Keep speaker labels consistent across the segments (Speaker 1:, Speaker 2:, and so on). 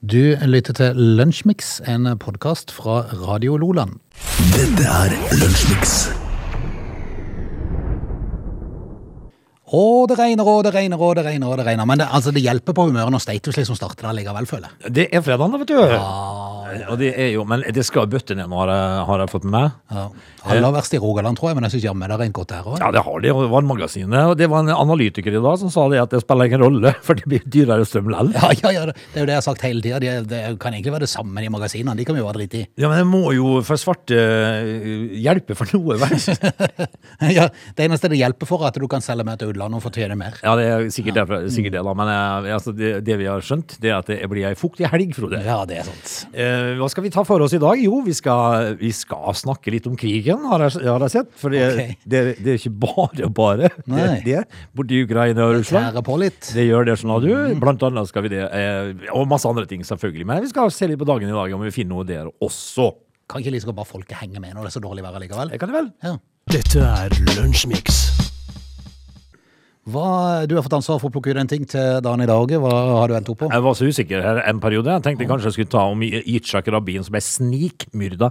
Speaker 1: Du lytter til Lunsjmix, en podkast fra Radio Loland.
Speaker 2: Dette er Lunsjmix.
Speaker 1: Å, det regner og det regner og det regner. og det regner. Men det, altså, det hjelper på humøret når status liksom starter der likevel, føler jeg.
Speaker 3: Det er fredagen, da, vet du. Og det er jo, men det skal bøtte ned nå, har jeg, har jeg fått med meg.
Speaker 1: Ja. Aller verst i Rogaland, tror jeg, men jeg syns jammen det er rent godt der òg.
Speaker 3: Ja, det har de. og Vannmagasinet. Og det var en analytiker i dag som sa det at det spiller ingen rolle, for det blir dyrere strøm likevel.
Speaker 1: Ja, ja, ja, det er jo det jeg har sagt hele tida. Det, det kan egentlig være det samme i magasinene. De kan vi jo være driti i.
Speaker 3: Ja, men det må jo for svarte eh, hjelpe for noe, vel?
Speaker 1: ja, det eneste det hjelper for, er at du kan selge mer til utlandet og få tjene mer.
Speaker 3: Ja, det er sikkert, derfor, sikkert det, da. Men eh, altså, det, det vi har skjønt, det er at det blir ei fuktig helg, Frode.
Speaker 1: Ja, det er sant.
Speaker 3: Eh, hva skal vi ta for oss i dag? Jo, vi skal, vi skal snakke litt om krigen, har jeg, har jeg sett. For det,
Speaker 1: Ok.
Speaker 3: det, det er ikke bare bare. Det,
Speaker 1: Nei.
Speaker 3: det, borti Ukraina og Russland.
Speaker 1: Tære på litt.
Speaker 3: Det gjør det, skjønner du. Blant annet skal vi det. eh, Og masse andre ting, selvfølgelig. Men vi skal se litt på dagen i dag om vi finner noe der også.
Speaker 1: Kan ikke like så godt bare folket henge med når det er så dårlig vær likevel?
Speaker 3: Det kan det vel?
Speaker 1: Ja.
Speaker 2: Dette er Lunsjmix.
Speaker 1: Hva, du har fått ansvar for å plukke ut en ting til dagen i dag. Hva har du endt opp på?
Speaker 3: Jeg var så usikker her en periode. Jeg tenkte kanskje jeg skulle ta om I- Yitzhak Rabin som ble snikmyrda.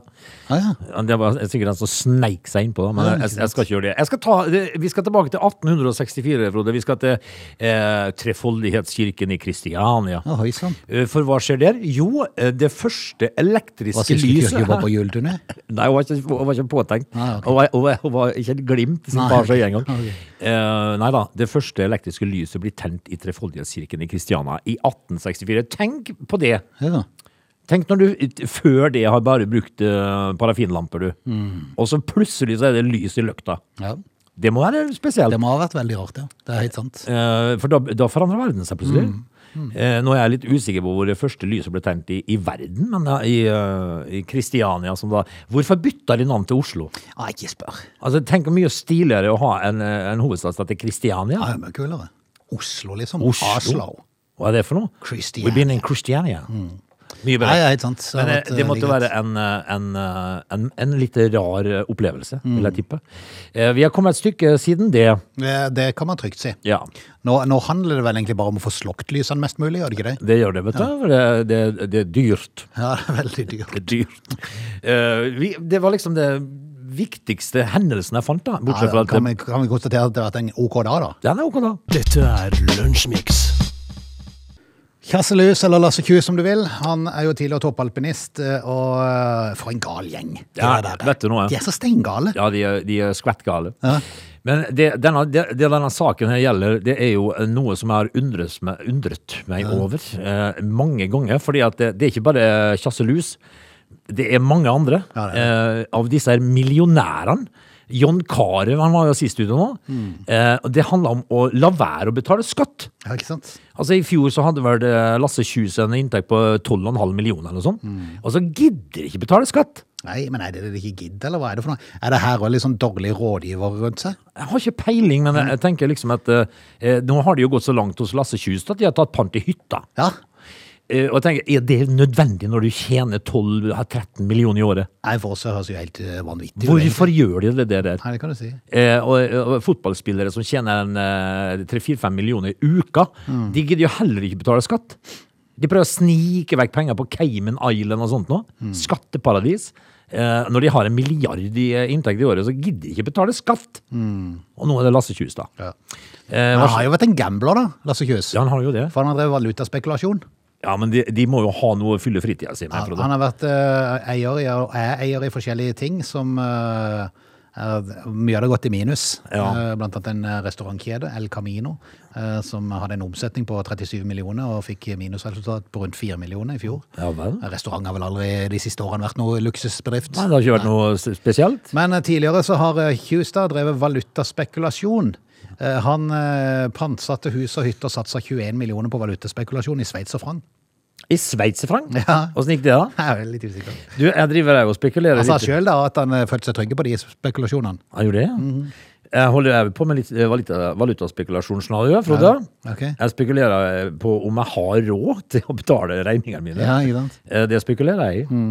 Speaker 1: Ah, ja.
Speaker 3: Det var sikkert en som sneik seg innpå, da, men jeg, jeg skal ikke gjøre det. Jeg skal ta, det- vi skal tilbake til 1864, Frode. Vi skal til eh, Trefoldighetskirken i Kristiania.
Speaker 1: Ja, Oi sann.
Speaker 3: Eh, For hva skjer der? Jo, eh, det første
Speaker 1: Hva
Speaker 3: elektriske
Speaker 1: syns du
Speaker 3: lyset
Speaker 1: kirken var på juleturné?
Speaker 3: Nei, hun var ikke, hun var ikke påtenkt.
Speaker 1: Nei, ok.
Speaker 3: Hun, var, hun, var, hun var ikke et glimt som
Speaker 1: Nei,
Speaker 3: tar seg
Speaker 1: ok.
Speaker 3: gjennom.
Speaker 1: Ok.
Speaker 3: Eh, nei da. Det første elektriske lyset blir tent i Trefoldighetskirken i Kristiana i 1864. Tenk på det!
Speaker 1: Ja.
Speaker 3: Tenk når du før det har bare brukt eh, parafinlamper, du.
Speaker 1: Mm.
Speaker 3: Og så plutselig så er det lys i løkta.
Speaker 1: ja.
Speaker 3: Det må være spesielt.
Speaker 1: Det må ha vært veldig rart, ja. Det er helt sant.
Speaker 3: Eh, for da, da forandrer verden seg plutselig.
Speaker 1: Mm.
Speaker 3: Eh, nå er jeg litt usikker på hvor det første lyset ble tent i, i verden, men da, i eh, i Kristiania som da Hvorfor bytta de navn til Oslo?
Speaker 1: Ja, ikke spør.
Speaker 3: Altså, Tenk hvor mye stiligere å ha en, eh, en hovedstad som heter Kristiania.
Speaker 1: Ja, det er mye kulere. Oslo, liksom.
Speaker 3: Oslo.
Speaker 1: Oslo.
Speaker 3: Hva er det for noe?
Speaker 1: Christiania.
Speaker 3: We've been in Christiania. Mye
Speaker 1: Mm. Nei,
Speaker 3: bedre.
Speaker 1: det er helt sant. Det har
Speaker 3: Men eh,
Speaker 1: vært
Speaker 3: det
Speaker 1: veldig
Speaker 3: måtte
Speaker 1: godt.
Speaker 3: være en, eh, en, eh, en, en litt rar eh, opplevelse, vil
Speaker 1: Mm.
Speaker 3: jeg tippe. Eh, Vi har kommet et stykke siden det.
Speaker 1: Eh, Det kan man trygt si.
Speaker 3: Ja,
Speaker 1: Nå, nå handler det vel egentlig bare om å få slokt lysene mest mulig, gjør det ikke det?
Speaker 3: det gjør det, vet du. for Det, det, det er dyrt.
Speaker 1: Ja, det er veldig dyrt.
Speaker 3: Det er dyrt. Eh, vi, det var liksom det viktigste hendelsen jeg fant, da.
Speaker 1: Ja,
Speaker 3: Bortsett fra at
Speaker 1: kan, vi, kan vi konstatere at det har vært en OK dag, da?
Speaker 3: Den er ok, da.
Speaker 2: Dette er Lunsjmix.
Speaker 1: Kasselus, eller Lasse Kjus som du vil, han er jo tidligere toppalpinist, eh, og eh, for en gal gjeng. de
Speaker 3: Ja,
Speaker 1: der.
Speaker 3: vet du noe?
Speaker 1: De er så steingale.
Speaker 3: Ja, de er, de er skvettgale.
Speaker 1: Ja.
Speaker 3: Men det denne, det, det denne saken her gjelder, det er jo noe som jeg har undres meg, undret meg over eh, mange ganger. fordi at det, det er ikke bare Kjasselus. Det er mange andre
Speaker 1: Ja, det
Speaker 3: eh, av disse her millionærene. John Carew han var jo sist ute nå.
Speaker 1: Mm.
Speaker 3: Eh, og det handla om å la være å betale skatt.
Speaker 1: Ja, ikke sant?
Speaker 3: Altså I fjor så hadde vel eh, Lasse Kjus en inntekt på 12,5 millioner eller noe sånt.
Speaker 1: Mm.
Speaker 3: Og så gidder de ikke betale skatt!
Speaker 1: Nei, men er det det de ikke gidder, eller hva er det for noe? Er det her også litt sånn dårlig rådgiver rundt seg?
Speaker 3: Jeg har ikke peiling, men jeg jeg tenker liksom at eh, eh, nå har det jo gått så langt hos Lasse Kjus at de har tatt pant i hytta.
Speaker 1: Ja,
Speaker 3: Eh, og jeg tenker, Er det nødvendig når du tjener 12-13 millioner i året?
Speaker 1: Nei, for oss så høres jo helt eh, vanvittig ut. egentlig.
Speaker 3: Hvorfor gjør de det der?
Speaker 1: Nei, det kan du si.
Speaker 3: Eh, og, og fotballspillere som tjener en, eh, 3-4-5 millioner i uka,
Speaker 1: Mm.
Speaker 3: de gidder jo heller ikke betale skatt. De prøver å snike vekk penger på Cayman Island og sånt nå.
Speaker 1: Mm.
Speaker 3: Skatteparadis. Eh, når de har en milliard i eh, inntekt i året, så gidder de ikke betale skatt. Og nå er det Lasse Kjus, da.
Speaker 1: Mm. Ja.
Speaker 3: Eh,
Speaker 1: Men
Speaker 3: hva
Speaker 1: han har jo vært en gambler, da, Lasse Kjus.
Speaker 3: Ja, han har jo det.
Speaker 1: For han har drevet valutaspekulasjon.
Speaker 3: Ja, men de, de må jo ha noe å fylle fritida si med,
Speaker 1: Han,
Speaker 3: Frode.
Speaker 1: han har vært eh, eier i, og er eier i forskjellige ting som eh, er, Mye av det har gått i minus.
Speaker 3: Ja.
Speaker 1: Eh, blant annet en eh, restaurantkjede, El Camino, eh, som hadde en omsetning på 37 millioner og fikk minusresultat på rundt 4 millioner i fjor. Eh,
Speaker 3: Ja vel.
Speaker 1: Restaurant har vel aldri de siste årene vært noe luksusbedrift.
Speaker 3: Nei, det har ikke vært noe s- spesielt.
Speaker 1: Men eh, tidligere så har eh, Hughes da drevet valutaspekulasjon. Eh, Han eh, pantsatte hus og hytter og satsa 21 millioner på valutaspekulasjon i Sveits og franc.
Speaker 3: I sveitserfranc?
Speaker 1: Ja.
Speaker 3: Åssen gikk det, da?
Speaker 1: Jeg er litt usikker.
Speaker 3: Du, jeg driver her og spekulerer
Speaker 1: Han sa
Speaker 3: litt.
Speaker 1: sjøl at han eh, følte seg trygge på de spekulasjonene.
Speaker 3: Jeg gjorde det, ja.
Speaker 1: Mhm.
Speaker 3: Jeg holder jeg på med litt eh, valuta, valutaspekulasjon snarere, ja, Frode.
Speaker 1: Ja, ok.
Speaker 3: Jeg spekulerer eh, på om jeg har råd til å betale regningene mine.
Speaker 1: Ja, Mhm. ikke sant?
Speaker 3: Eh, Det spekulerer jeg i.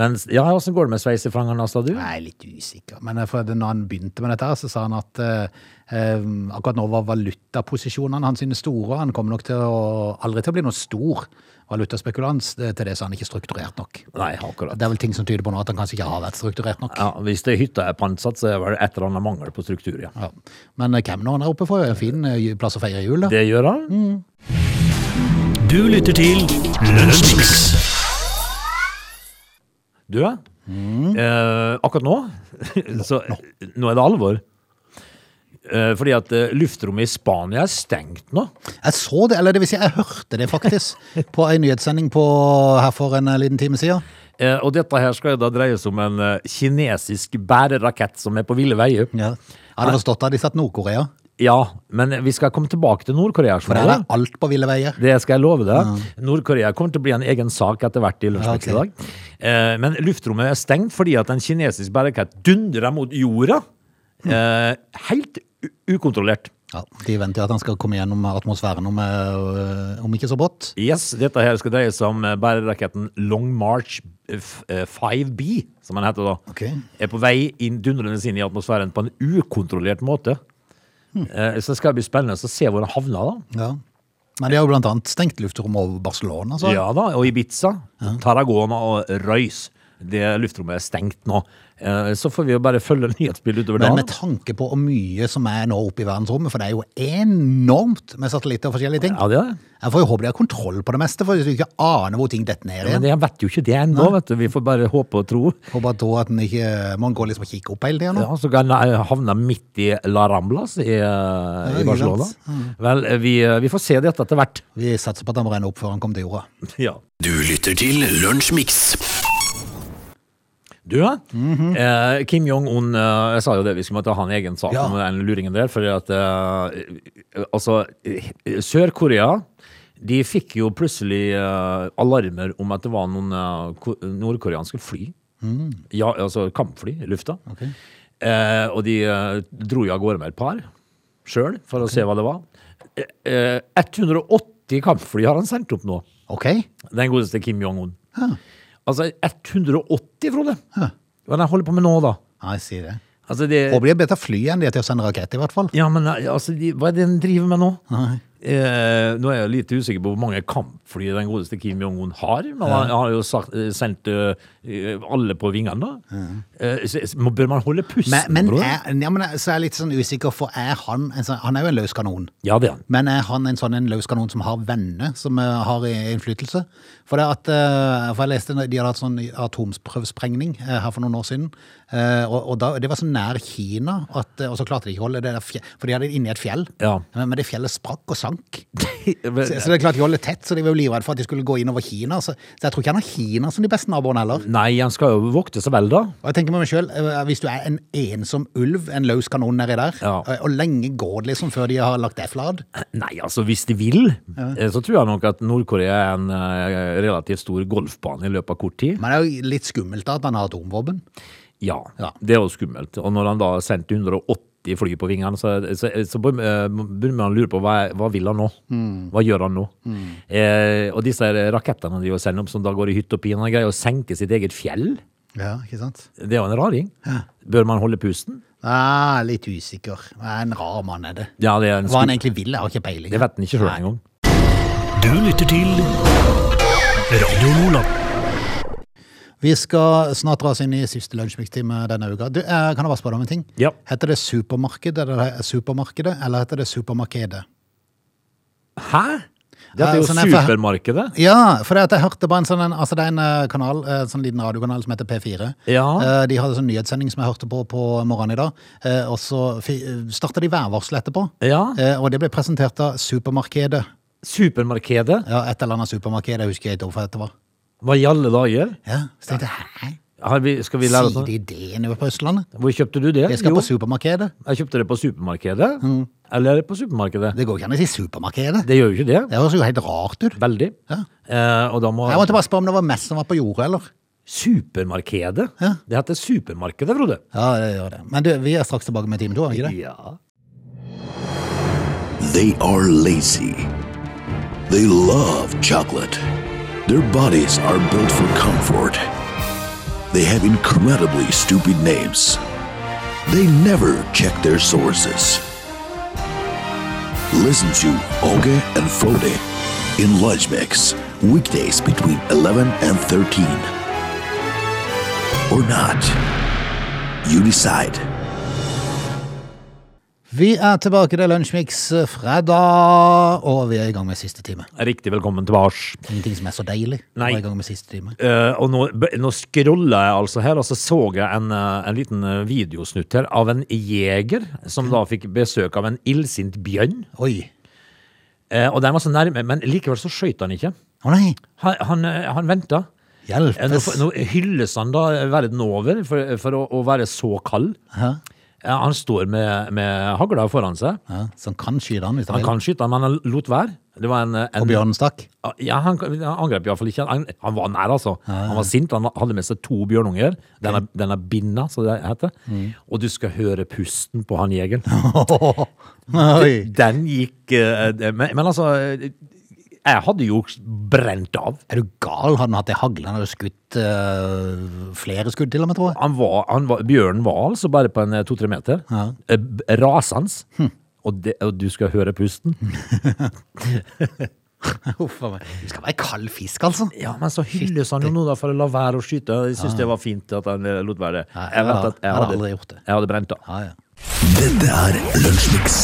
Speaker 3: Men s- ja, åssen går det med sveitserfrancen, Asta? Du?
Speaker 1: Jeg er litt usikker. Men eh, for da han begynte med dette, her, så sa han at eh, Eh, akkurat nå var valutaposisjonene hans sine store, og han kommer nok til å, aldri til å bli noen stor valutaspekulans eh, til det, så han er ikke strukturert nok.
Speaker 3: Nei, akkurat.
Speaker 1: Det er vel ting som tyder på nå at han kanskje ikke har vært strukturert nok.
Speaker 3: Ja, hvis det hytta er pantsatt, så er det et eller annet mangel på struktur, ja.
Speaker 1: Ja. Men eh, hvem når han er oppe for, er en fin eh, plass å feire jul, da.
Speaker 3: Det gjør han.
Speaker 1: Mm.
Speaker 2: Du lytter til Lunsjmix.
Speaker 3: Du, ja.
Speaker 1: Mm.
Speaker 3: Eh, akkurat nå, så nå er det alvor. Eh, fordi at eh, luftrommet i Spania er stengt nå.
Speaker 1: Jeg så det, eller det vil si, jeg hørte det faktisk, på en nyhetssending på, her for en eh, liten time siden.
Speaker 3: Eh, og dette her skal jo da dreies om en eh, kinesisk bærerakett som er på ville veier.
Speaker 1: Ja. Jeg
Speaker 3: Ah.
Speaker 1: hadde forstått at de satt Nord-Korea.
Speaker 3: Ja, men vi skal komme tilbake til Nord-Korea.
Speaker 1: For
Speaker 3: skjønner
Speaker 1: der
Speaker 3: du?
Speaker 1: er alt på ville veier.
Speaker 3: Det skal jeg love deg. Nord-Korea kommer til å bli en egen sak etter hvert i lunsjmix
Speaker 1: Ja,
Speaker 3: i
Speaker 1: ok.
Speaker 3: dag. Eh, men luftrommet er stengt fordi at en kinesisk bærekraft dundrer mot jorda.
Speaker 1: Hm.
Speaker 3: Eh, helt u- ukontrollert.
Speaker 1: Ja, De venter jo at han skal komme gjennom atmosfæren om, eh, om ikke så brått.
Speaker 3: Yes, dette her skal dreie seg om eh, bæreraketten Long March eh, f- eh, 5B, som den heter da.
Speaker 1: Ok.
Speaker 3: Er på vei inn dundrende inn i atmosfæren på en ukontrollert måte.
Speaker 1: Hm.
Speaker 3: Eh, så det skal bli spennende å se hvor den havner, da.
Speaker 1: Ja. Men de har jo blant annet stengt luftrommet over Barcelona. Så.
Speaker 3: Ja da, og Ibiza, Tarragona og Røys. Det luftrommet er stengt nå. Eh, Så får vi jo bare følge nyhetsbildet utover
Speaker 1: Men
Speaker 3: dagen.
Speaker 1: med tanke på hvor mye som er nå oppe i verdensrommet, for det er jo enormt med satellitter og forskjellige ting.
Speaker 3: Ja, det er det.
Speaker 1: Jeg får jo håpe de har kontroll på det meste, for hvis du ikke aner hvor ting detter ned
Speaker 3: Men
Speaker 1: igjen.
Speaker 3: jeg vet jo ikke det ennå, vet du. Vi får bare håpe og tro.
Speaker 1: Håper at da at den ikke Man går liksom og kikker opp hele tida nå.
Speaker 3: Ja, så kan jeg havne midt i La Ramblas i, eh, i
Speaker 1: ikke
Speaker 3: Barcelona.
Speaker 1: sant.
Speaker 3: Vel, eh, vi, eh, vi får se dette etter hvert.
Speaker 1: Vi satser på at han må renne opp før han kommer til jorda.
Speaker 3: Ja.
Speaker 2: Du lytter til Lunsjmix.
Speaker 3: Du, ja. eh, Kim Jong-un eh, Jeg sa jo det, vi skulle måtte ha en egen sak
Speaker 1: Ja.
Speaker 3: om den luringen der. Fordi at eh, Altså, eh, Sør-Korea de fikk jo plutselig eh, alarmer om at det var noen eh, ko- nordkoreanske fly. Ja, altså kampfly i lufta. Eh, og de eh, dro jo av gårde med et par sjøl for å se hva det var. Eh, eh, 180 kampfly har han sendt opp nå.
Speaker 1: Ok?
Speaker 3: Den godeste Kim Jong-un.
Speaker 1: Ja.
Speaker 3: Altså 180, Frode. Hva er det jeg holder på med nå, da?
Speaker 1: Ja, jeg sier det.
Speaker 3: Altså, det,
Speaker 1: Håper de er bedre til å fly enn de er til å sende rakett, i hvert fall.
Speaker 3: ja, men eh, altså, de, hva er det den driver med nå?
Speaker 1: Nei.
Speaker 3: Eh, nå er jeg litt usikker på hvor mange kampfly den godeste Kim Jong-un har. Men han har jo sagt, eh, sendt eh, alle på vingene, da. Eh, så, så må- bør man holde pusten,
Speaker 1: Men, men,
Speaker 3: Frode?
Speaker 1: er, ja, men er- så er jeg litt sånn usikker, for er han en sånn, Han er jo en løs kanon.
Speaker 3: Ja, det er han.
Speaker 1: Men er han en sånn en løs kanon som har venner, som eh, har i- innflytelse? For, det at, eh, for jeg leste når de hadde hatt sånn atomprøvesprengning eh, her for noen år siden. eh, Og, og da, det var så nær Kina, at, eh, og så klarte de ikke å holde det der fje- For de hadde det inni et fjell.
Speaker 3: Ja.
Speaker 1: Men, men det fjellet sprakk og sank.
Speaker 3: Men-
Speaker 1: Så, så det er klart de holder tett, så de var jo livredde for at de skulle gå inn over Kina. Så, så jeg tror ikke han har Kina som de beste naboene heller.
Speaker 3: Nei, han skal jo vokte seg vel, da.
Speaker 1: Og jeg tenker med meg selv, eh, Hvis du er en ensom ulv, en løs kanon nedi der,
Speaker 3: Ja.
Speaker 1: eh, og lenge går det liksom før de har lagt deg flat?
Speaker 3: Nei, altså hvis de vil, eh, så tror jeg nok at Nord-Korea er en eh, relativt stor golfbane i løpet av kort tid.
Speaker 1: Men det er jo litt skummelt da at han har atomvåpen.
Speaker 3: Ja,
Speaker 1: Ja.
Speaker 3: det er jo skummelt. Og når han da har sendt 180 fly på vingene, så, så, så bør- eh, begynner man å lure på hva, hva vil han nå?
Speaker 1: Mm.
Speaker 3: Hva gjør han nå? Eh, og disse her rakettene de jo sender opp, som da går i hytt og pine, han greier å senke sitt eget fjell.
Speaker 1: Ja, ikke sant?
Speaker 3: Det er jo en raring. Bør man holde pusten?
Speaker 1: Ah, litt usikker. Men En rar mann er det.
Speaker 3: Ja, det er en
Speaker 1: Hva han
Speaker 3: sku-
Speaker 1: egentlig vil, jeg har ikke peiling.
Speaker 3: Det vet han ikke sjøl engang.
Speaker 2: Du lytter til Radio Nordland.
Speaker 1: Vi skal snart dra oss inn i siste lunsjmikstime denne uka. Du, eh, kan jeg bare spørre deg om en ting?
Speaker 3: Ja.
Speaker 1: Heter det supermarked eller, supermarkedet, eller heter det supermarkedet?
Speaker 3: Hæ? Dette er jo
Speaker 1: Ja, sånn er for-
Speaker 3: supermarkedet.
Speaker 1: Ja, for det at jeg hørte på en sånn en, altså det er en eh, kanal, eh, sånn liten radiokanal som heter P4.
Speaker 3: Ja.
Speaker 1: Eh, De hadde sånn nyhetssending som jeg hørte på på morgenen i dag, eh, og så fi- startet de værvarsel etterpå.
Speaker 3: Ja.
Speaker 1: Eh, Og det ble presentert av supermarkedet.
Speaker 3: Supermarkedet?
Speaker 1: Ja, et eller annet supermarked, jeg husker ikke hvorfor det var.
Speaker 3: Hva i alle dager?
Speaker 1: Ja, så tenkte jeg, hæ?
Speaker 3: Har vi, skal vi
Speaker 1: Sier
Speaker 3: lære oss noe?
Speaker 1: de det nede på Østlandet?
Speaker 3: Hvor kjøpte du det?
Speaker 1: Jeg skal
Speaker 3: Jo,
Speaker 1: på Mm. supermarkedet.
Speaker 3: jeg kjøpte det på supermarkedet. Eller på supermarkedet.
Speaker 1: Det går ikke an å si supermarkedet.
Speaker 3: Det gjør jo ikke det.
Speaker 1: Det høres jo helt rart ut.
Speaker 3: Veldig.
Speaker 1: Ja.
Speaker 3: Eh, og da må
Speaker 1: Jeg måtte bare spørre om det var mest som var på jordet, eller?
Speaker 3: Supermarkedet?
Speaker 1: Ja.
Speaker 3: Det heter supermarkedet, Frode.
Speaker 1: Ja, det gjør det. Men du, vi er straks tilbake med time to, er vi ikke det?
Speaker 3: Ja.
Speaker 2: They are lazy. They love chocolate. Their bodies are built for comfort. They have incredibly stupid names. They never check their sources. Listen to Oge and Frode in Lunch Mix weekdays between 11 and 13. Or not. You decide.
Speaker 1: Vi er tilbake til Lunsjmix eh, fredag, og vi er i gang med siste time.
Speaker 3: Riktig velkommen tilbake.
Speaker 1: Ingenting som er så deilig. å
Speaker 3: Nei.
Speaker 1: være i gang med siste time.
Speaker 3: Eh, og nå, b- nå scrolla jeg altså her, og så så jeg en, eh, en liten eh, videosnutt her av en jeger som da fikk besøk av en illsint bjørn.
Speaker 1: Oi.
Speaker 3: Eh, og den var så nærme, men likevel så skøyt han ikke.
Speaker 1: Å nei.
Speaker 3: Han, han, eh, han venta. Eh, Nå,
Speaker 1: Hjelpes.
Speaker 3: f- nå hylles han da verden over for, for å, å være så kald.
Speaker 1: Hæ?
Speaker 3: Eh, han står med, med hagla foran seg.
Speaker 1: Ja, så han kan skyte han hvis han
Speaker 3: Han
Speaker 1: vil.
Speaker 3: kan skyte, men han lot være. Det var en, eh, en
Speaker 1: Og bjørnen stakk.
Speaker 3: Ja, han, han angrep iallfall ikke. Han, han var nær, altså. Han var sint. Han hadde med seg to bjørnunger. Den er, den er binda, som det heter.
Speaker 1: Mm.
Speaker 3: Og du skal høre pusten på han jegeren.
Speaker 1: Oi.
Speaker 3: Den gikk eh, det- men, men altså eh, Jeg hadde jo brent av.
Speaker 1: Er du gal? Hadde han hatt ei hagle? Han hadde skutt eh, flere skudd til og med, tror jeg.
Speaker 3: Han var, han var, bjørnen var altså bare på en eh, to-tre meter.
Speaker 1: Ja. Hm.
Speaker 3: Eh, b- Rasende. Og, det- og du skal høre pusten.
Speaker 1: Huff a meg. Det skal være kald fisk, altså.
Speaker 3: Ja, men så hylles han jo nå da for å la være å skyte. Jeg syns det var fint at han eh, lot være.
Speaker 1: Ja,
Speaker 3: Jeg
Speaker 1: jeg
Speaker 3: vet
Speaker 1: hadde-
Speaker 3: at jeg
Speaker 1: jeg hadde
Speaker 3: hadde,
Speaker 1: aldri gjort det.
Speaker 3: Jeg hadde brent av.
Speaker 1: Ja, ja.
Speaker 2: Dette er Lunsjmix.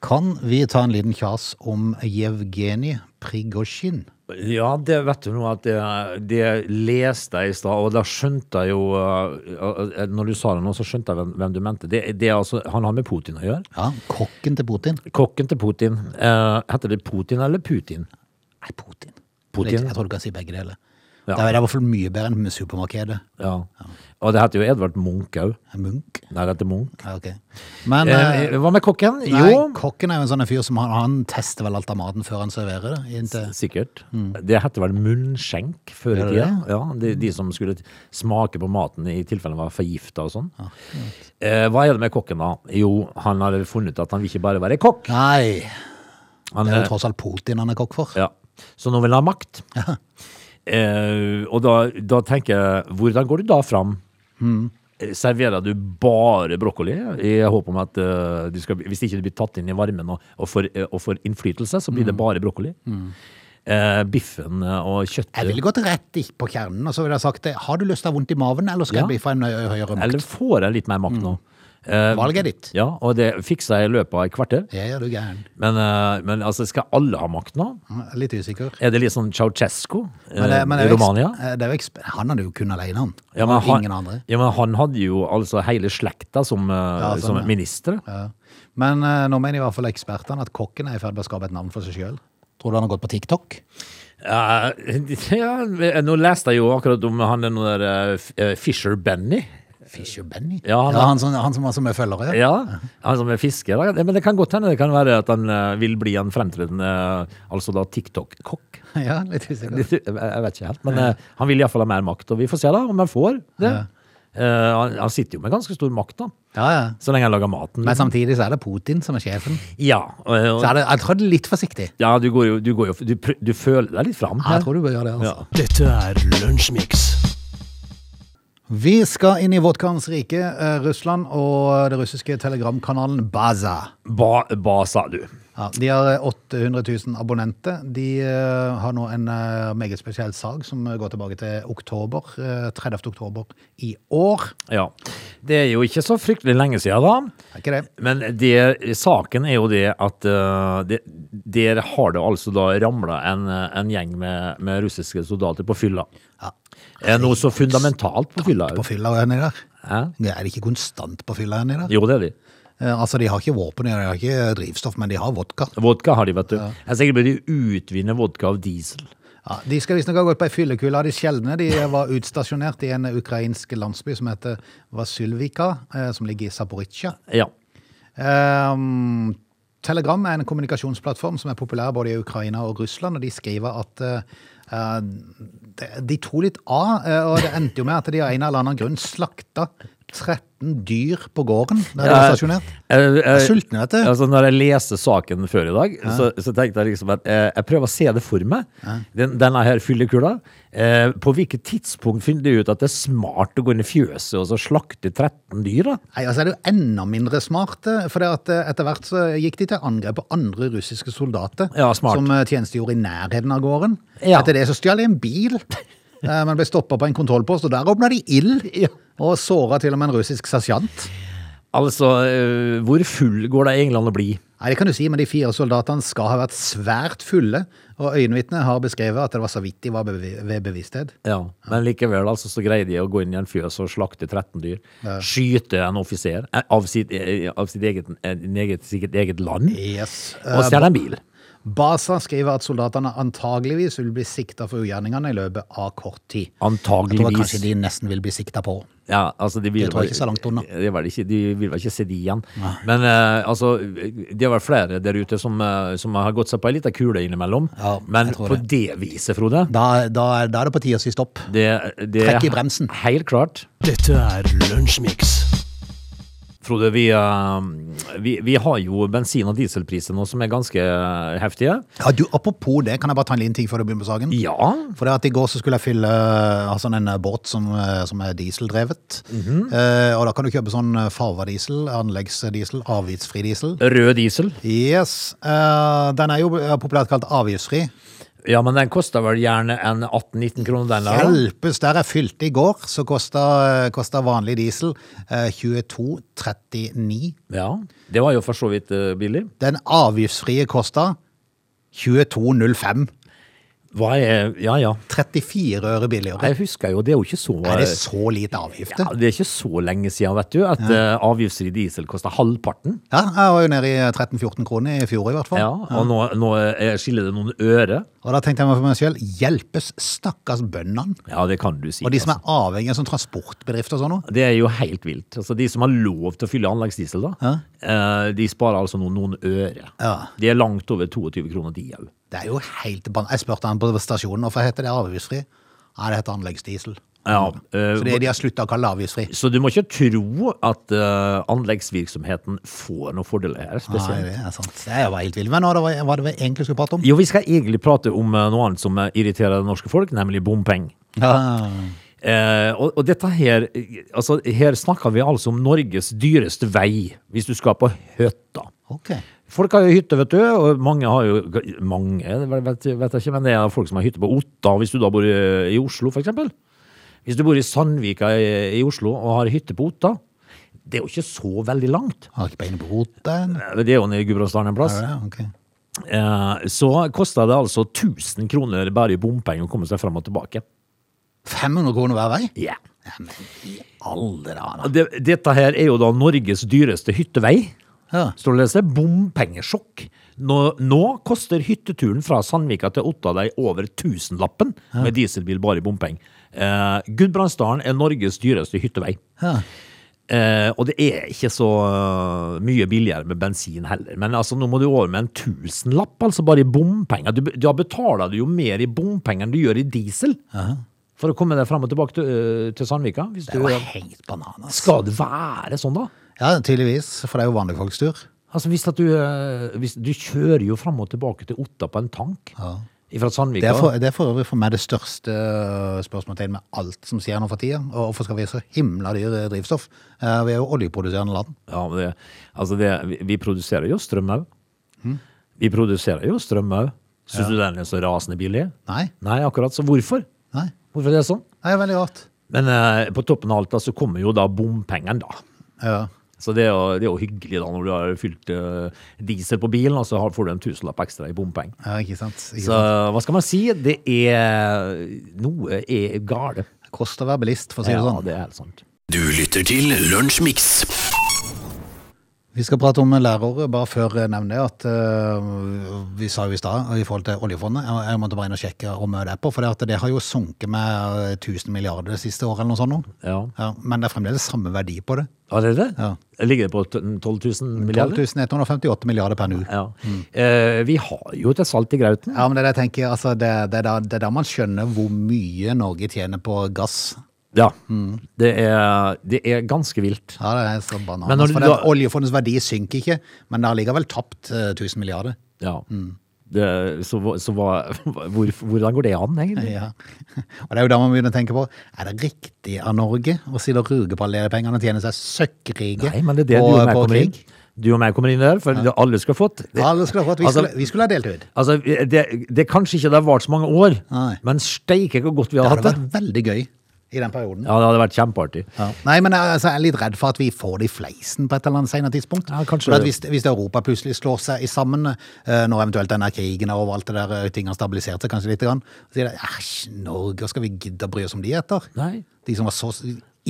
Speaker 1: Kan vi ta en liten kjas om Jevgenij Prigozjin?
Speaker 3: Ja, det vet du nå at det, det leste jeg i stad, og da skjønte jeg jo eh, eh, Når du sa det nå, så skjønte jeg hvem, hvem du mente. Det, det er altså, Han har med Putin å gjøre.
Speaker 1: Ja, kokken til Putin.
Speaker 3: Kokken til Putin. Eh, heter det Putin eller Putin?
Speaker 1: Nei, Putin.
Speaker 3: Putin?
Speaker 1: Jeg, jeg tror du kan si begge deler.
Speaker 3: Ja.
Speaker 1: Det er i hvert fall mye bedre enn med supermarkedet.
Speaker 3: Ja. Og det heter jo Edvard Munch òg.
Speaker 1: Munch?
Speaker 3: Nei, det heter Munch.
Speaker 1: Ja, ok. Men eh,
Speaker 3: Eh, hva med kokken?
Speaker 1: nei,
Speaker 3: jo,
Speaker 1: kokken er jo en sånn en fyr som han, han tester vel alt av maten før han serverer det. Inntil,
Speaker 3: sikkert. Det heter vel munnskjenk før i
Speaker 1: Mm. Gjør det Mm.
Speaker 3: tida. Ja, de, de som skulle smake på maten i tilfelle den var forgifta og sånn. eh, hva er det med kokken, da? Jo, han har funnet ut at han vil ikke bare være kokk.
Speaker 1: nei,
Speaker 3: Han,
Speaker 1: det er
Speaker 3: eh,
Speaker 1: jo tross alt Putin han er kokk for.
Speaker 3: Ja. Så nå vil han ha makt. Eh, og da, da tenker jeg, hvordan går du da fram?
Speaker 1: Mm.
Speaker 3: Eh, Serverer du bare brokkoli i håp om at eh, du skal, hvis ikke du blir tatt inn i varmen og, og, får, eh, og får innflytelse, så blir
Speaker 1: Mm.
Speaker 3: det bare brokkoli? Eh, biffen og kjøttet.
Speaker 1: Jeg ville gått rett i- på kjernen og så ville jeg sagt det. Har du lyst til å ha vondt i maven, eller skal
Speaker 3: Ja.
Speaker 1: jeg bli for en høy- høyere makt?
Speaker 3: Eller får jeg litt mer makt nå? Eh,
Speaker 1: Valget er ditt.
Speaker 3: ja, og det fikser jeg i løpet av et kvarter.
Speaker 1: Ja, ja, du er gæren.
Speaker 3: Men, eh, men altså, skal alle ha makt nå?
Speaker 1: Jeg er Litt usikker.
Speaker 3: Er det litt sånn Ceaucescu eh,
Speaker 1: Men det- men det
Speaker 3: i
Speaker 1: er jo eks-
Speaker 3: Romania?
Speaker 1: eh, det er jo eks- han hadde jo kun alene, han.
Speaker 3: Ja, men han,
Speaker 1: Ingen andre.
Speaker 3: ja, men han hadde jo altså hele slekta som, eh,
Speaker 1: sånn,
Speaker 3: som
Speaker 1: ja.
Speaker 3: minister.
Speaker 1: Ja. Men eh, nå mener i hvert fall ekspertene at kokken er i ferd med å skape et navn for seg sjøl. Tror du han har gått på TikTok?
Speaker 3: Eh, ja, eh, nå leste jeg jo akkurat om han den der eh, F- eh, Fisher Benny.
Speaker 1: Fisher Benny?
Speaker 3: Ja, han
Speaker 1: han,
Speaker 3: har-
Speaker 1: som, han som har så mye følgere?
Speaker 3: Ja, han som er fisker. da. Men det kan godt hende det kan være at han eh, vil bli en fremtredende eh, altså da TikTok-kokk.
Speaker 1: Ja, litt usikker.
Speaker 3: Det- Jeg vet ikke helt, men eh, han vil iallfall ha mer makt. Og vi får se da om han får det. Eh, han, han sitter jo med ganske stor makt, da.
Speaker 1: Ja, ja.
Speaker 3: Så lenge han lager maten.
Speaker 1: Men
Speaker 3: liksom.
Speaker 1: samtidig så er det Putin som er sjefen.
Speaker 3: Ja, og- og-
Speaker 1: Så er det, jeg tror det er litt forsiktig.
Speaker 3: ja du går jo, du, går jo du, prø- du føler deg litt fram.
Speaker 1: Ja,
Speaker 3: her.
Speaker 1: jeg tror du bør gjøre det, altså.
Speaker 2: Dette er Lunsjmix.
Speaker 1: Vi skal inn i vodkaens rike, eh, Russland og det russiske telegramkanalen Baza.
Speaker 3: Hva, hva sa du?
Speaker 1: Ja, de har eh, 800 000 abonnenter. De eh, har nå en eh, meget spesiell sag som eh, går tilbake til oktober, eh, 30. oktober i år.
Speaker 3: Ja. Det er jo ikke så fryktelig lenge siden, da.
Speaker 1: Er ikke det?
Speaker 3: Men det, saken er jo det at eh, det, der har det altså da ramla en, eh, en gjeng med, med russiske soldater på fylla.
Speaker 1: Ja.
Speaker 3: Eh, Noe så fundamentalt på fylla.
Speaker 1: På fylla er de der.
Speaker 3: Hæ?
Speaker 1: Er de ikke konstant på fylla enn i dag?
Speaker 3: Jo, det er de.
Speaker 1: Eh, Altså, de har ikke våpen, de har ikke drivstoff, men de har vodka.
Speaker 3: Vodka har de, vet du. Jeg er sikker på at de utvinner vodka av diesel.
Speaker 1: Ja, de skal visstnok ha gått på ei fyllekule av de sjeldne. De var utstasjonert i en ukrainsk landsby som heter Vasylvika, eh, som ligger i Zaporizjzja.
Speaker 3: Ja.
Speaker 1: Ehm, Telegram er en kommunikasjonsplattform som er populær både i Ukraina og Russland, og de skriver at eh, eh, de- de tok litt av, eh, og det endte jo med at de av en eller annen grunn slakta 13 dyr på gården der de var stasjonert. Jeg
Speaker 3: Jeg,
Speaker 1: er sulten, vet du.
Speaker 3: Eh, Altså, når jeg leste saken før i dag, så, så tenkte jeg liksom at eh, jeg prøver å se det for meg. Den, denne her fyllekula. Eh, på hvilket tidspunkt finner du ut at det er smart å gå inn i fjøset og så slakte 13 dyr? da?
Speaker 1: Nei, altså er det jo enda mindre smart, eh, for det at eh, etter hvert så gikk de til angrep på andre russiske soldater
Speaker 3: Ja, smart.
Speaker 1: som eh, tjenestegjorde i nærheten av gården.
Speaker 3: Ja.
Speaker 1: Etter det så stjal de en bil, eh, men ble stoppa på en kontrollpost, og der åpna de ild. Og såra til og med en russisk sersjant.
Speaker 3: Altså, eh, hvor full går det egentlig an å bli?
Speaker 1: Nei, det kan du si, men de fire soldatene skal ha vært svært fulle, og øyenvitnet har beskrevet at det var så vidt de var bevi- ved bevissthet.
Speaker 3: Ja, Men likevel altså, så greide de å gå inn i en fjøs og slakte 13 dyr. Skyte en offiser eh, av sitt, eh, av sitt eget, eh, eget, sikkert eget land.
Speaker 1: Yes.
Speaker 3: Og stjele en bil.
Speaker 1: Basa skriver at soldatene antageligvis vil bli sikta for ugjerningene i løpet av kort tid. Jeg tror
Speaker 3: Antageligvis.
Speaker 1: kanskje de nesten vil bli sikta på.
Speaker 3: Ja, altså de vil
Speaker 1: Det tror jeg
Speaker 3: vel-
Speaker 1: ikke så langt unna.
Speaker 3: Det var det ikke, de vil vel ikke se de igjen. Men eh, altså, det er vel flere der ute som, eh, som har gått seg på ei lita kule innimellom.
Speaker 1: Ja,
Speaker 3: Men
Speaker 1: jeg tror
Speaker 3: på det. viset, Frode
Speaker 1: Da, da, er- da er det på tide å si stopp.
Speaker 3: det, det,
Speaker 1: Trekk i bremsen.
Speaker 3: Helt klart.
Speaker 2: Dette er Lunsjmix.
Speaker 3: Frode, vi, eh, vi, vi har jo bensin- og dieselpriser nå som er ganske eh, heftige.
Speaker 1: Ja, du, apropos det, kan jeg bare ta en liten ting før du begynner på saken?
Speaker 3: Ja.
Speaker 1: For det at i går så skulle jeg fylle eh, ha sånn en eh, båt som, eh, som er dieseldrevet. Eh, og da kan du kjøpe sånn farva diesel, anleggsdiesel, avgiftsfri diesel.
Speaker 3: Rød diesel.
Speaker 1: Yes. eh, den er jo eh, populært kalt avgiftsfri.
Speaker 3: Ja, men den koster vel gjerne en 18-19 kroner, den der. da.
Speaker 1: Hjelpes, der jeg fylte i går, så kosta, kosta vanlig diesel eh, 22,39.
Speaker 3: Ja. Det var jo for så vidt eh, billig.
Speaker 1: Den avgiftsfrie kosta 22,05.
Speaker 3: Hva er Ja, ja.
Speaker 1: 34 øre billigere.
Speaker 3: Jeg husker jo, det er jo ikke så eh,
Speaker 1: Er det så lite avgifter?
Speaker 3: Ja, det er ikke så lenge siden vet du, at eh, avgiftsfri diesel koster halvparten.
Speaker 1: Ja, jeg var jo nede i 13-14 kroner i fjor i hvert fall.
Speaker 3: Ja, og nå, nå eh, skiller det noen øre.
Speaker 1: Og da tenkte jeg meg for meg selv, hjelpes stakkars bøndene.
Speaker 3: Ja, det kan du si.
Speaker 1: Og de som
Speaker 3: altså.
Speaker 1: er avhengige av sånn transportbedrift og sånn noe.
Speaker 3: Det er jo helt vilt. Altså, de som har lov til å fylle anleggsdiesel, da, eh, de sparer altså noen, noen øre.
Speaker 1: Ja.
Speaker 3: De er langt over 22 kroner, de òg.
Speaker 1: Det er jo helt ban... Jeg spurte han på stasjonen, hvorfor heter det avgiftsfri? Nei, det heter anleggsdiesel.
Speaker 3: Ja, eh,
Speaker 1: Så det, de har sluttet å kalle det avgiftsfri.
Speaker 3: Så du må ikke tro at eh, anleggsvirksomheten får noen fordeler her.
Speaker 1: Nei,
Speaker 3: spesielt.
Speaker 1: det er sant. Det er jo bare helt vild. Men hva det var- hva det vi egentlig skulle prate om?
Speaker 3: Jo, vi skal egentlig prate om eh, noe annet som eh, irriterer det norske folk, nemlig bompenger.
Speaker 1: Ja.
Speaker 3: Eh, og, og dette her eh, Altså, her snakker vi altså om Norges dyreste vei, hvis du skal på hytta.
Speaker 1: Ok.
Speaker 3: Folk har jo hytte, vet du, og mange har jo Mange, det vet, vet jeg ikke, men det er folk som har hytte på Otta, hvis du da bor i, i Oslo, for eksempel. Hvis du bor i Sandvika i, i Oslo og har hytte på Otta, det er jo ikke så veldig langt.
Speaker 1: Har ikke bein på roten.
Speaker 3: Eh, Det er jo nede i Gudbrandsdalen en plass.
Speaker 1: Ja, ok.
Speaker 3: Eh, så koster det altså 1000 kroner bare i bompenger å komme seg fram og tilbake.
Speaker 1: 500 kroner hver vei?
Speaker 3: Ja.
Speaker 1: Ja, men i alle dager. da.
Speaker 3: Det, dette her er jo da Norges dyreste hyttevei.
Speaker 1: Ja.
Speaker 3: Står det å lese bompengesjokk. Nå, nå koster hytteturen fra Sandvika til Ottadei over tusenlappen med dieselbil bare i bompeng. Eh, Gudbrandsdalen er Norges dyreste hyttevei.
Speaker 1: Ja.
Speaker 3: Eh, og det er ikke så eh, mye billigere med bensin heller. Men altså, nå må du over med en tusenlapp, altså bare i bompenger. Du, be- da betaler du jo mer i bompenger enn du gjør i diesel. For å komme deg fram og tilbake til, eh, til Sandvika. Hvis
Speaker 1: Det
Speaker 3: du,
Speaker 1: var helt bananas.
Speaker 3: skal det være sånn, da?
Speaker 1: Ja, tydeligvis, for det er jo vanlige folks tur.
Speaker 3: Altså hvis at du, eh, hvis, du kjører jo fram og tilbake til Otta på en tank fra Sandvika.
Speaker 1: Det er for, det er for øvrig for meg det største øh, spørsmålstegnet med alt som skjer nå for tida. Og Hvorfor skal vi ha så himla dyr drivstoff? Eh, Vi er jo oljeproduserende land.
Speaker 3: Ja, men det, altså det, vi, vi produserer jo strøm òg.
Speaker 1: Hm?
Speaker 3: Vi produserer jo strøm òg. Syns du den er så rasende billig?
Speaker 1: Nei.
Speaker 3: Nei, akkurat. Så hvorfor?
Speaker 1: Nei,
Speaker 3: Hvorfor er det sånn?
Speaker 1: det er veldig rart.
Speaker 3: Men eh, på toppen av alt da, så kommer jo da bompengene, da.
Speaker 1: Ja.
Speaker 3: Så det er, jo, det er jo hyggelig da når du har fylt eh, diesel på bilen, og så har- får du en tusenlapp ekstra i bompenger.
Speaker 1: ja, ikke sant. Ikke
Speaker 3: Så
Speaker 1: sant.
Speaker 3: hva skal man si? Det er Noe er gale.
Speaker 1: Det koster å være bilist, for å si det
Speaker 3: Ja,
Speaker 1: sånn.
Speaker 3: det er helt sant.
Speaker 2: Du lytter til Lunsjmix.
Speaker 1: Vi skal prate om lærere, bare før jeg nevner at øh, vi sa jo i stad i forhold til oljefondet, jeg, jeg måtte bare inn og sjekke hvor mye det er på, for det, at det har jo sunket med øh, 1000 milliarder det siste året eller noe sånt nå.
Speaker 3: Ja.
Speaker 1: Ja, men det er fremdeles samme verdi på det.
Speaker 3: Har dere det?
Speaker 1: Ja.
Speaker 3: Ligger det på t- 12 000 milliarder?
Speaker 1: 12 158 milliarder per nå.
Speaker 3: Ja. Eh, vi har jo et salt i grauten.
Speaker 1: Ja, men det er det jeg tenker, altså det, det, er da, det er da man skjønner hvor mye Norge tjener på gass.
Speaker 3: Ja. Det, er, det er ganske vilt.
Speaker 1: Ja, det er så bananas.
Speaker 3: Men når du
Speaker 1: for den
Speaker 3: da-
Speaker 1: Oljefondets verdi synker ikke, men det har likevel tapt eh, 1000 milliarder.
Speaker 3: Ja. Det, så hva- så hva, hvor, hvordan går det an, egentlig?
Speaker 1: Ja. Og det er jo da man begynner å tenke på er det riktig av Norge å si det ruge på alle de pengene og tjene seg søkkrike
Speaker 3: Nei, men det er det du og meg kommer inn. Du og meg kommer inn der, for det alle skulle ha fått. Det,
Speaker 1: Alle skulle ha fått. Vi
Speaker 3: Altså-
Speaker 1: skulle, vi skulle ha delt ut.
Speaker 3: altså, det, det er kanskje ikke det har vart så mange år,
Speaker 1: Nei.
Speaker 3: men steike hvor godt vi
Speaker 1: Det
Speaker 3: har hatt
Speaker 1: hadde
Speaker 3: det.
Speaker 1: vært veldig gøy i den perioden.
Speaker 3: Ja, det hadde vært kjempeartig.
Speaker 1: Ja. Nei, men altså, jeg er litt redd for at vi får det i fleisen på et eller annet senere tidspunkt.
Speaker 3: Ja, kanskje
Speaker 1: For at
Speaker 3: det.
Speaker 1: hvis, hvis Europa plutselig slår seg i sammen, eh, når eventuelt denne krigen er over, alt det der eh, ting har stabilisert seg kanskje litt, grann, så sier de æsj, Norge, skal vi gidde å bry oss om de etter?
Speaker 3: Nei.
Speaker 1: De som var så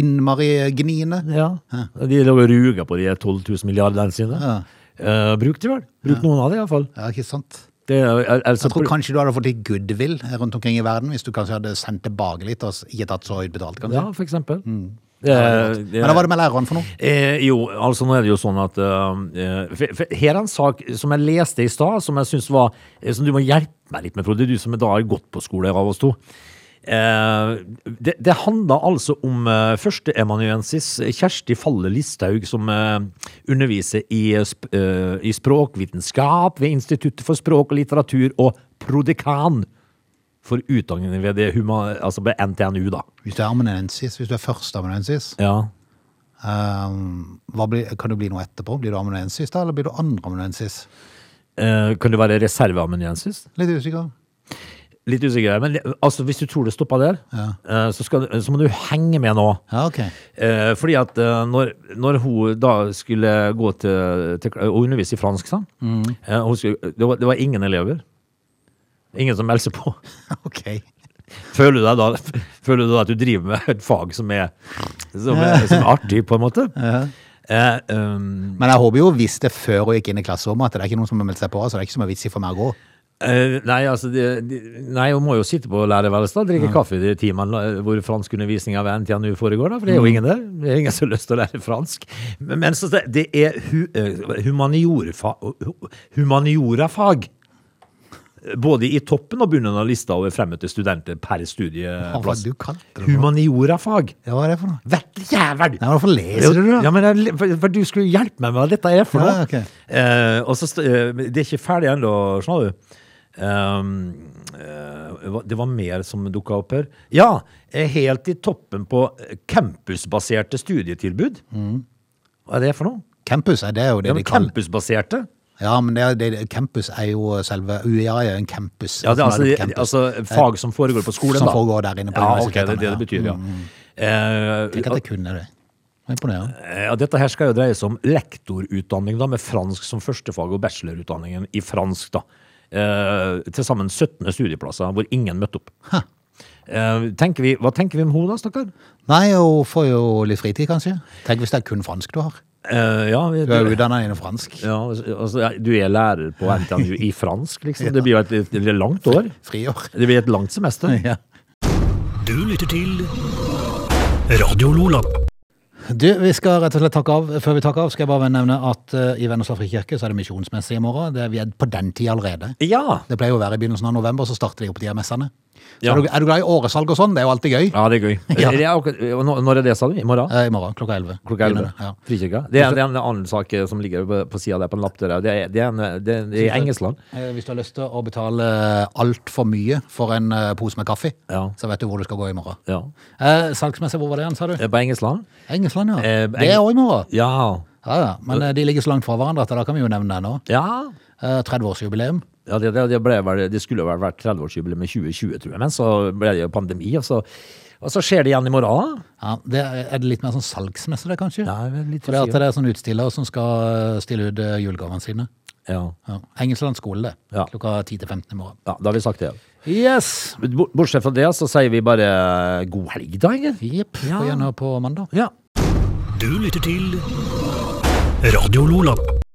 Speaker 1: innmari gniende.
Speaker 3: Ja. De lå og ruga på de 12 000 milliardene sine.
Speaker 1: Ja.
Speaker 3: Eh, bruk de vel. Bruk noen av det, iallfall.
Speaker 1: Ja, ikke sant?
Speaker 3: Jeg
Speaker 1: Jeg tror kanskje du hadde fått litt goodwill eh, rundt omkring i verden, hvis du kanskje hadde sendt tilbake litt og s- ikke tatt så høyt betalt, kanskje.
Speaker 3: Ja, for eksempel. Eh,
Speaker 1: Men hva var det med læreren for noe?
Speaker 3: Eh, jo, altså nå er det jo sånn at eh, eh, for, for, Her er en sak som jeg leste i stad, som jeg synes var eh, Som du må hjelpe meg litt med, Frode, du som da har gått på skole av oss to. Eh, det det handla altså om eh, førsteemanuensis Kjersti Falle Listhaug, som eh, underviser i, eh, sp eh, i språkvitenskap ved Instituttet for språk og litteratur, og prodekan for utdanningene ved, det huma- altså ved NTNU, da.
Speaker 1: Hvis du er ammonensis, hvis du er førsteammonensis,
Speaker 3: Ja,
Speaker 1: ehm, hva blir- kan du bli noe etterpå? Blir du ammonensis da, eller blir du andreammonensis?
Speaker 3: Eh, kan det være reserveamanuensis?
Speaker 1: Litt usikker.
Speaker 3: Litt usikker, men altså, hvis du tror det stopper der, eh, så, skal, du- så må du henge med nå.
Speaker 1: Ja, ok.
Speaker 3: Eh, fordi at eh, når, når hun da skulle gå til, til og undervise i fransk, sant? Eh, hun skulle, det, var, det var ingen elever. Ingen som meldte seg på.
Speaker 1: Ok.
Speaker 3: Føler du deg da Føler du da at du driver med et fag som er, som er, som er artig, på en måte? Eh, um,
Speaker 1: Men jeg håper jo, hvis det før hun gikk inn i klasserommet, at det er ikke noen som har meldt seg på, så det er ikke som er vits i for meg å gå.
Speaker 3: Eh, nei, altså de, de, Nei, hun må jo sitte på lærerværelset og drikke kaffe i de timene eh, hvor franskundervisninga ved NTNU foregår, da, for
Speaker 1: Mm.
Speaker 3: det er jo ingen der. Det er ingen som har lyst til å lære fransk. Men, men så, det er hu, eh, humaniorefa, hu- humaniorafag. Både i toppen og bunnen av lista over fremmøtte studenter
Speaker 1: Hva var
Speaker 3: per
Speaker 1: det
Speaker 3: studieplass.
Speaker 1: du kalte det? for noe?
Speaker 3: Humaniorafag!
Speaker 1: Ja, hva er det for noe?
Speaker 3: Hvert jævel!
Speaker 1: Nei, hvorfor leser du det?
Speaker 3: Ja, men jeg, for, for du skulle jo hjelpe meg med hva dette er for noe.
Speaker 1: Ja, ok.
Speaker 3: Eh, og så, st- eh, men det er ikke ferdig ennå, skjønner du. Um, eh, hva- det var mer som dukka opp her. Ja, eh, helt i toppen på eh, campusbaserte studietilbud. Hva er det for noe?
Speaker 1: Campus, Mm. er det jo det
Speaker 3: Ja,
Speaker 1: de
Speaker 3: men
Speaker 1: kaller.
Speaker 3: campusbaserte?
Speaker 1: Ja, men det, er- det, campus er jo selve UiA er jo en campus.
Speaker 3: Ja, det, er altså,
Speaker 1: Nå er
Speaker 3: det,
Speaker 1: det på campus.
Speaker 3: altså fag som foregår på skolen,
Speaker 1: Som
Speaker 3: da.
Speaker 1: foregår der inne på
Speaker 3: ja, ok, det
Speaker 1: universitetene, Mm.
Speaker 3: er det det betyr, ja.
Speaker 1: Tenk
Speaker 3: Eh,
Speaker 1: at jeg kunne det. Det er Imponerende.
Speaker 3: Eh, Og dette her skal jo dreie seg om lektorutdanning da, med fransk som førstefag og bachelorutdanningen i fransk. da. Eh, til sammen 17 studieplasser hvor ingen møtte opp. Eh, tenker vi, hva tenker vi om henne da, stakkar?
Speaker 1: Nei, og får jo litt fritid, kanskje. Tenk hvis det er kun fransk du har.
Speaker 3: Eh, ja, vi-
Speaker 1: Du er utdanna innen fransk.
Speaker 3: ja, altså, ja, du er lærer på NTNU i fransk, liksom. Det blir jo et, et, et langt år.
Speaker 1: Friår.
Speaker 3: Det blir et langt semester.
Speaker 4: Du lytter til Radio Lola.
Speaker 1: Du, vi skal rett og slett takke av. Før vi takker av, skal jeg bare nevne at eh, i Vennesla frikirke så er det misjonsmesse i morgen. Det er, vi er på den tida allerede.
Speaker 3: Ja!
Speaker 1: Det pleier jo å være i begynnelsen av november, så starter de opp de her messene. Så
Speaker 3: Ja.
Speaker 1: Er, du, er du glad i åresalg og sånn? Det er jo alltid gøy.
Speaker 3: ja, det er gøy.
Speaker 1: Ja.
Speaker 3: Det er akkurat- og nå- når er det, sa du? I morgen?
Speaker 1: Eh, I morgen klokka 11.
Speaker 3: Klokka 11.
Speaker 1: Begynner det, Ja.
Speaker 3: Frikirka. Det er, det er en annen sak eh, som ligger på, på sida der, på en lapp der. Det er, det er, en, det er, det er i Engelsland.
Speaker 1: Eh, Hvis du har lyst til å betale altfor mye for en eh, pose med kaffe,
Speaker 3: Ja.
Speaker 1: så vet du hvor du skal gå i morgen.
Speaker 3: Ja.
Speaker 1: Eh, salgsmesse, hvor var det igjen, sa du?
Speaker 3: Eh, På Engelsland?
Speaker 1: Engelsland, ja.
Speaker 3: Eh,
Speaker 1: det er
Speaker 3: Eng-
Speaker 1: òg i morgen.
Speaker 3: Ja.
Speaker 1: Ja, ja. Men eh, de ligger så langt fra hverandre at da kan vi jo nevne det nå.
Speaker 3: Ja.
Speaker 1: Eh, 30-årsjubileum.
Speaker 3: ja det, det, det, ble vel, det skulle vel vært 30-årsjubileum i 2020, tror jeg, men så ble det jo pandemi, og så, og så skjer det igjen i morgen.
Speaker 1: Ja, det er, er det litt mer sånn salgsmesse, det, kanskje?
Speaker 3: Ja, jeg er litt
Speaker 1: For det, at
Speaker 3: usikker.
Speaker 1: det er sånn utstillere som skal eh, stille ut eh, julegavene sine.
Speaker 3: ja.
Speaker 1: Ja. Engelsland skole, det.
Speaker 3: Ja.
Speaker 1: Klokka 10 til 15 i morgen.
Speaker 3: ja, da har vi sagt det.
Speaker 1: Yes!
Speaker 3: Bo- Bortsett fra det, så sier vi bare god helg, da, Inger.
Speaker 1: Jepp.
Speaker 3: Ja.
Speaker 1: Får igjen høre på mandag.
Speaker 3: Ja.
Speaker 4: Du lytter til Radio Lola.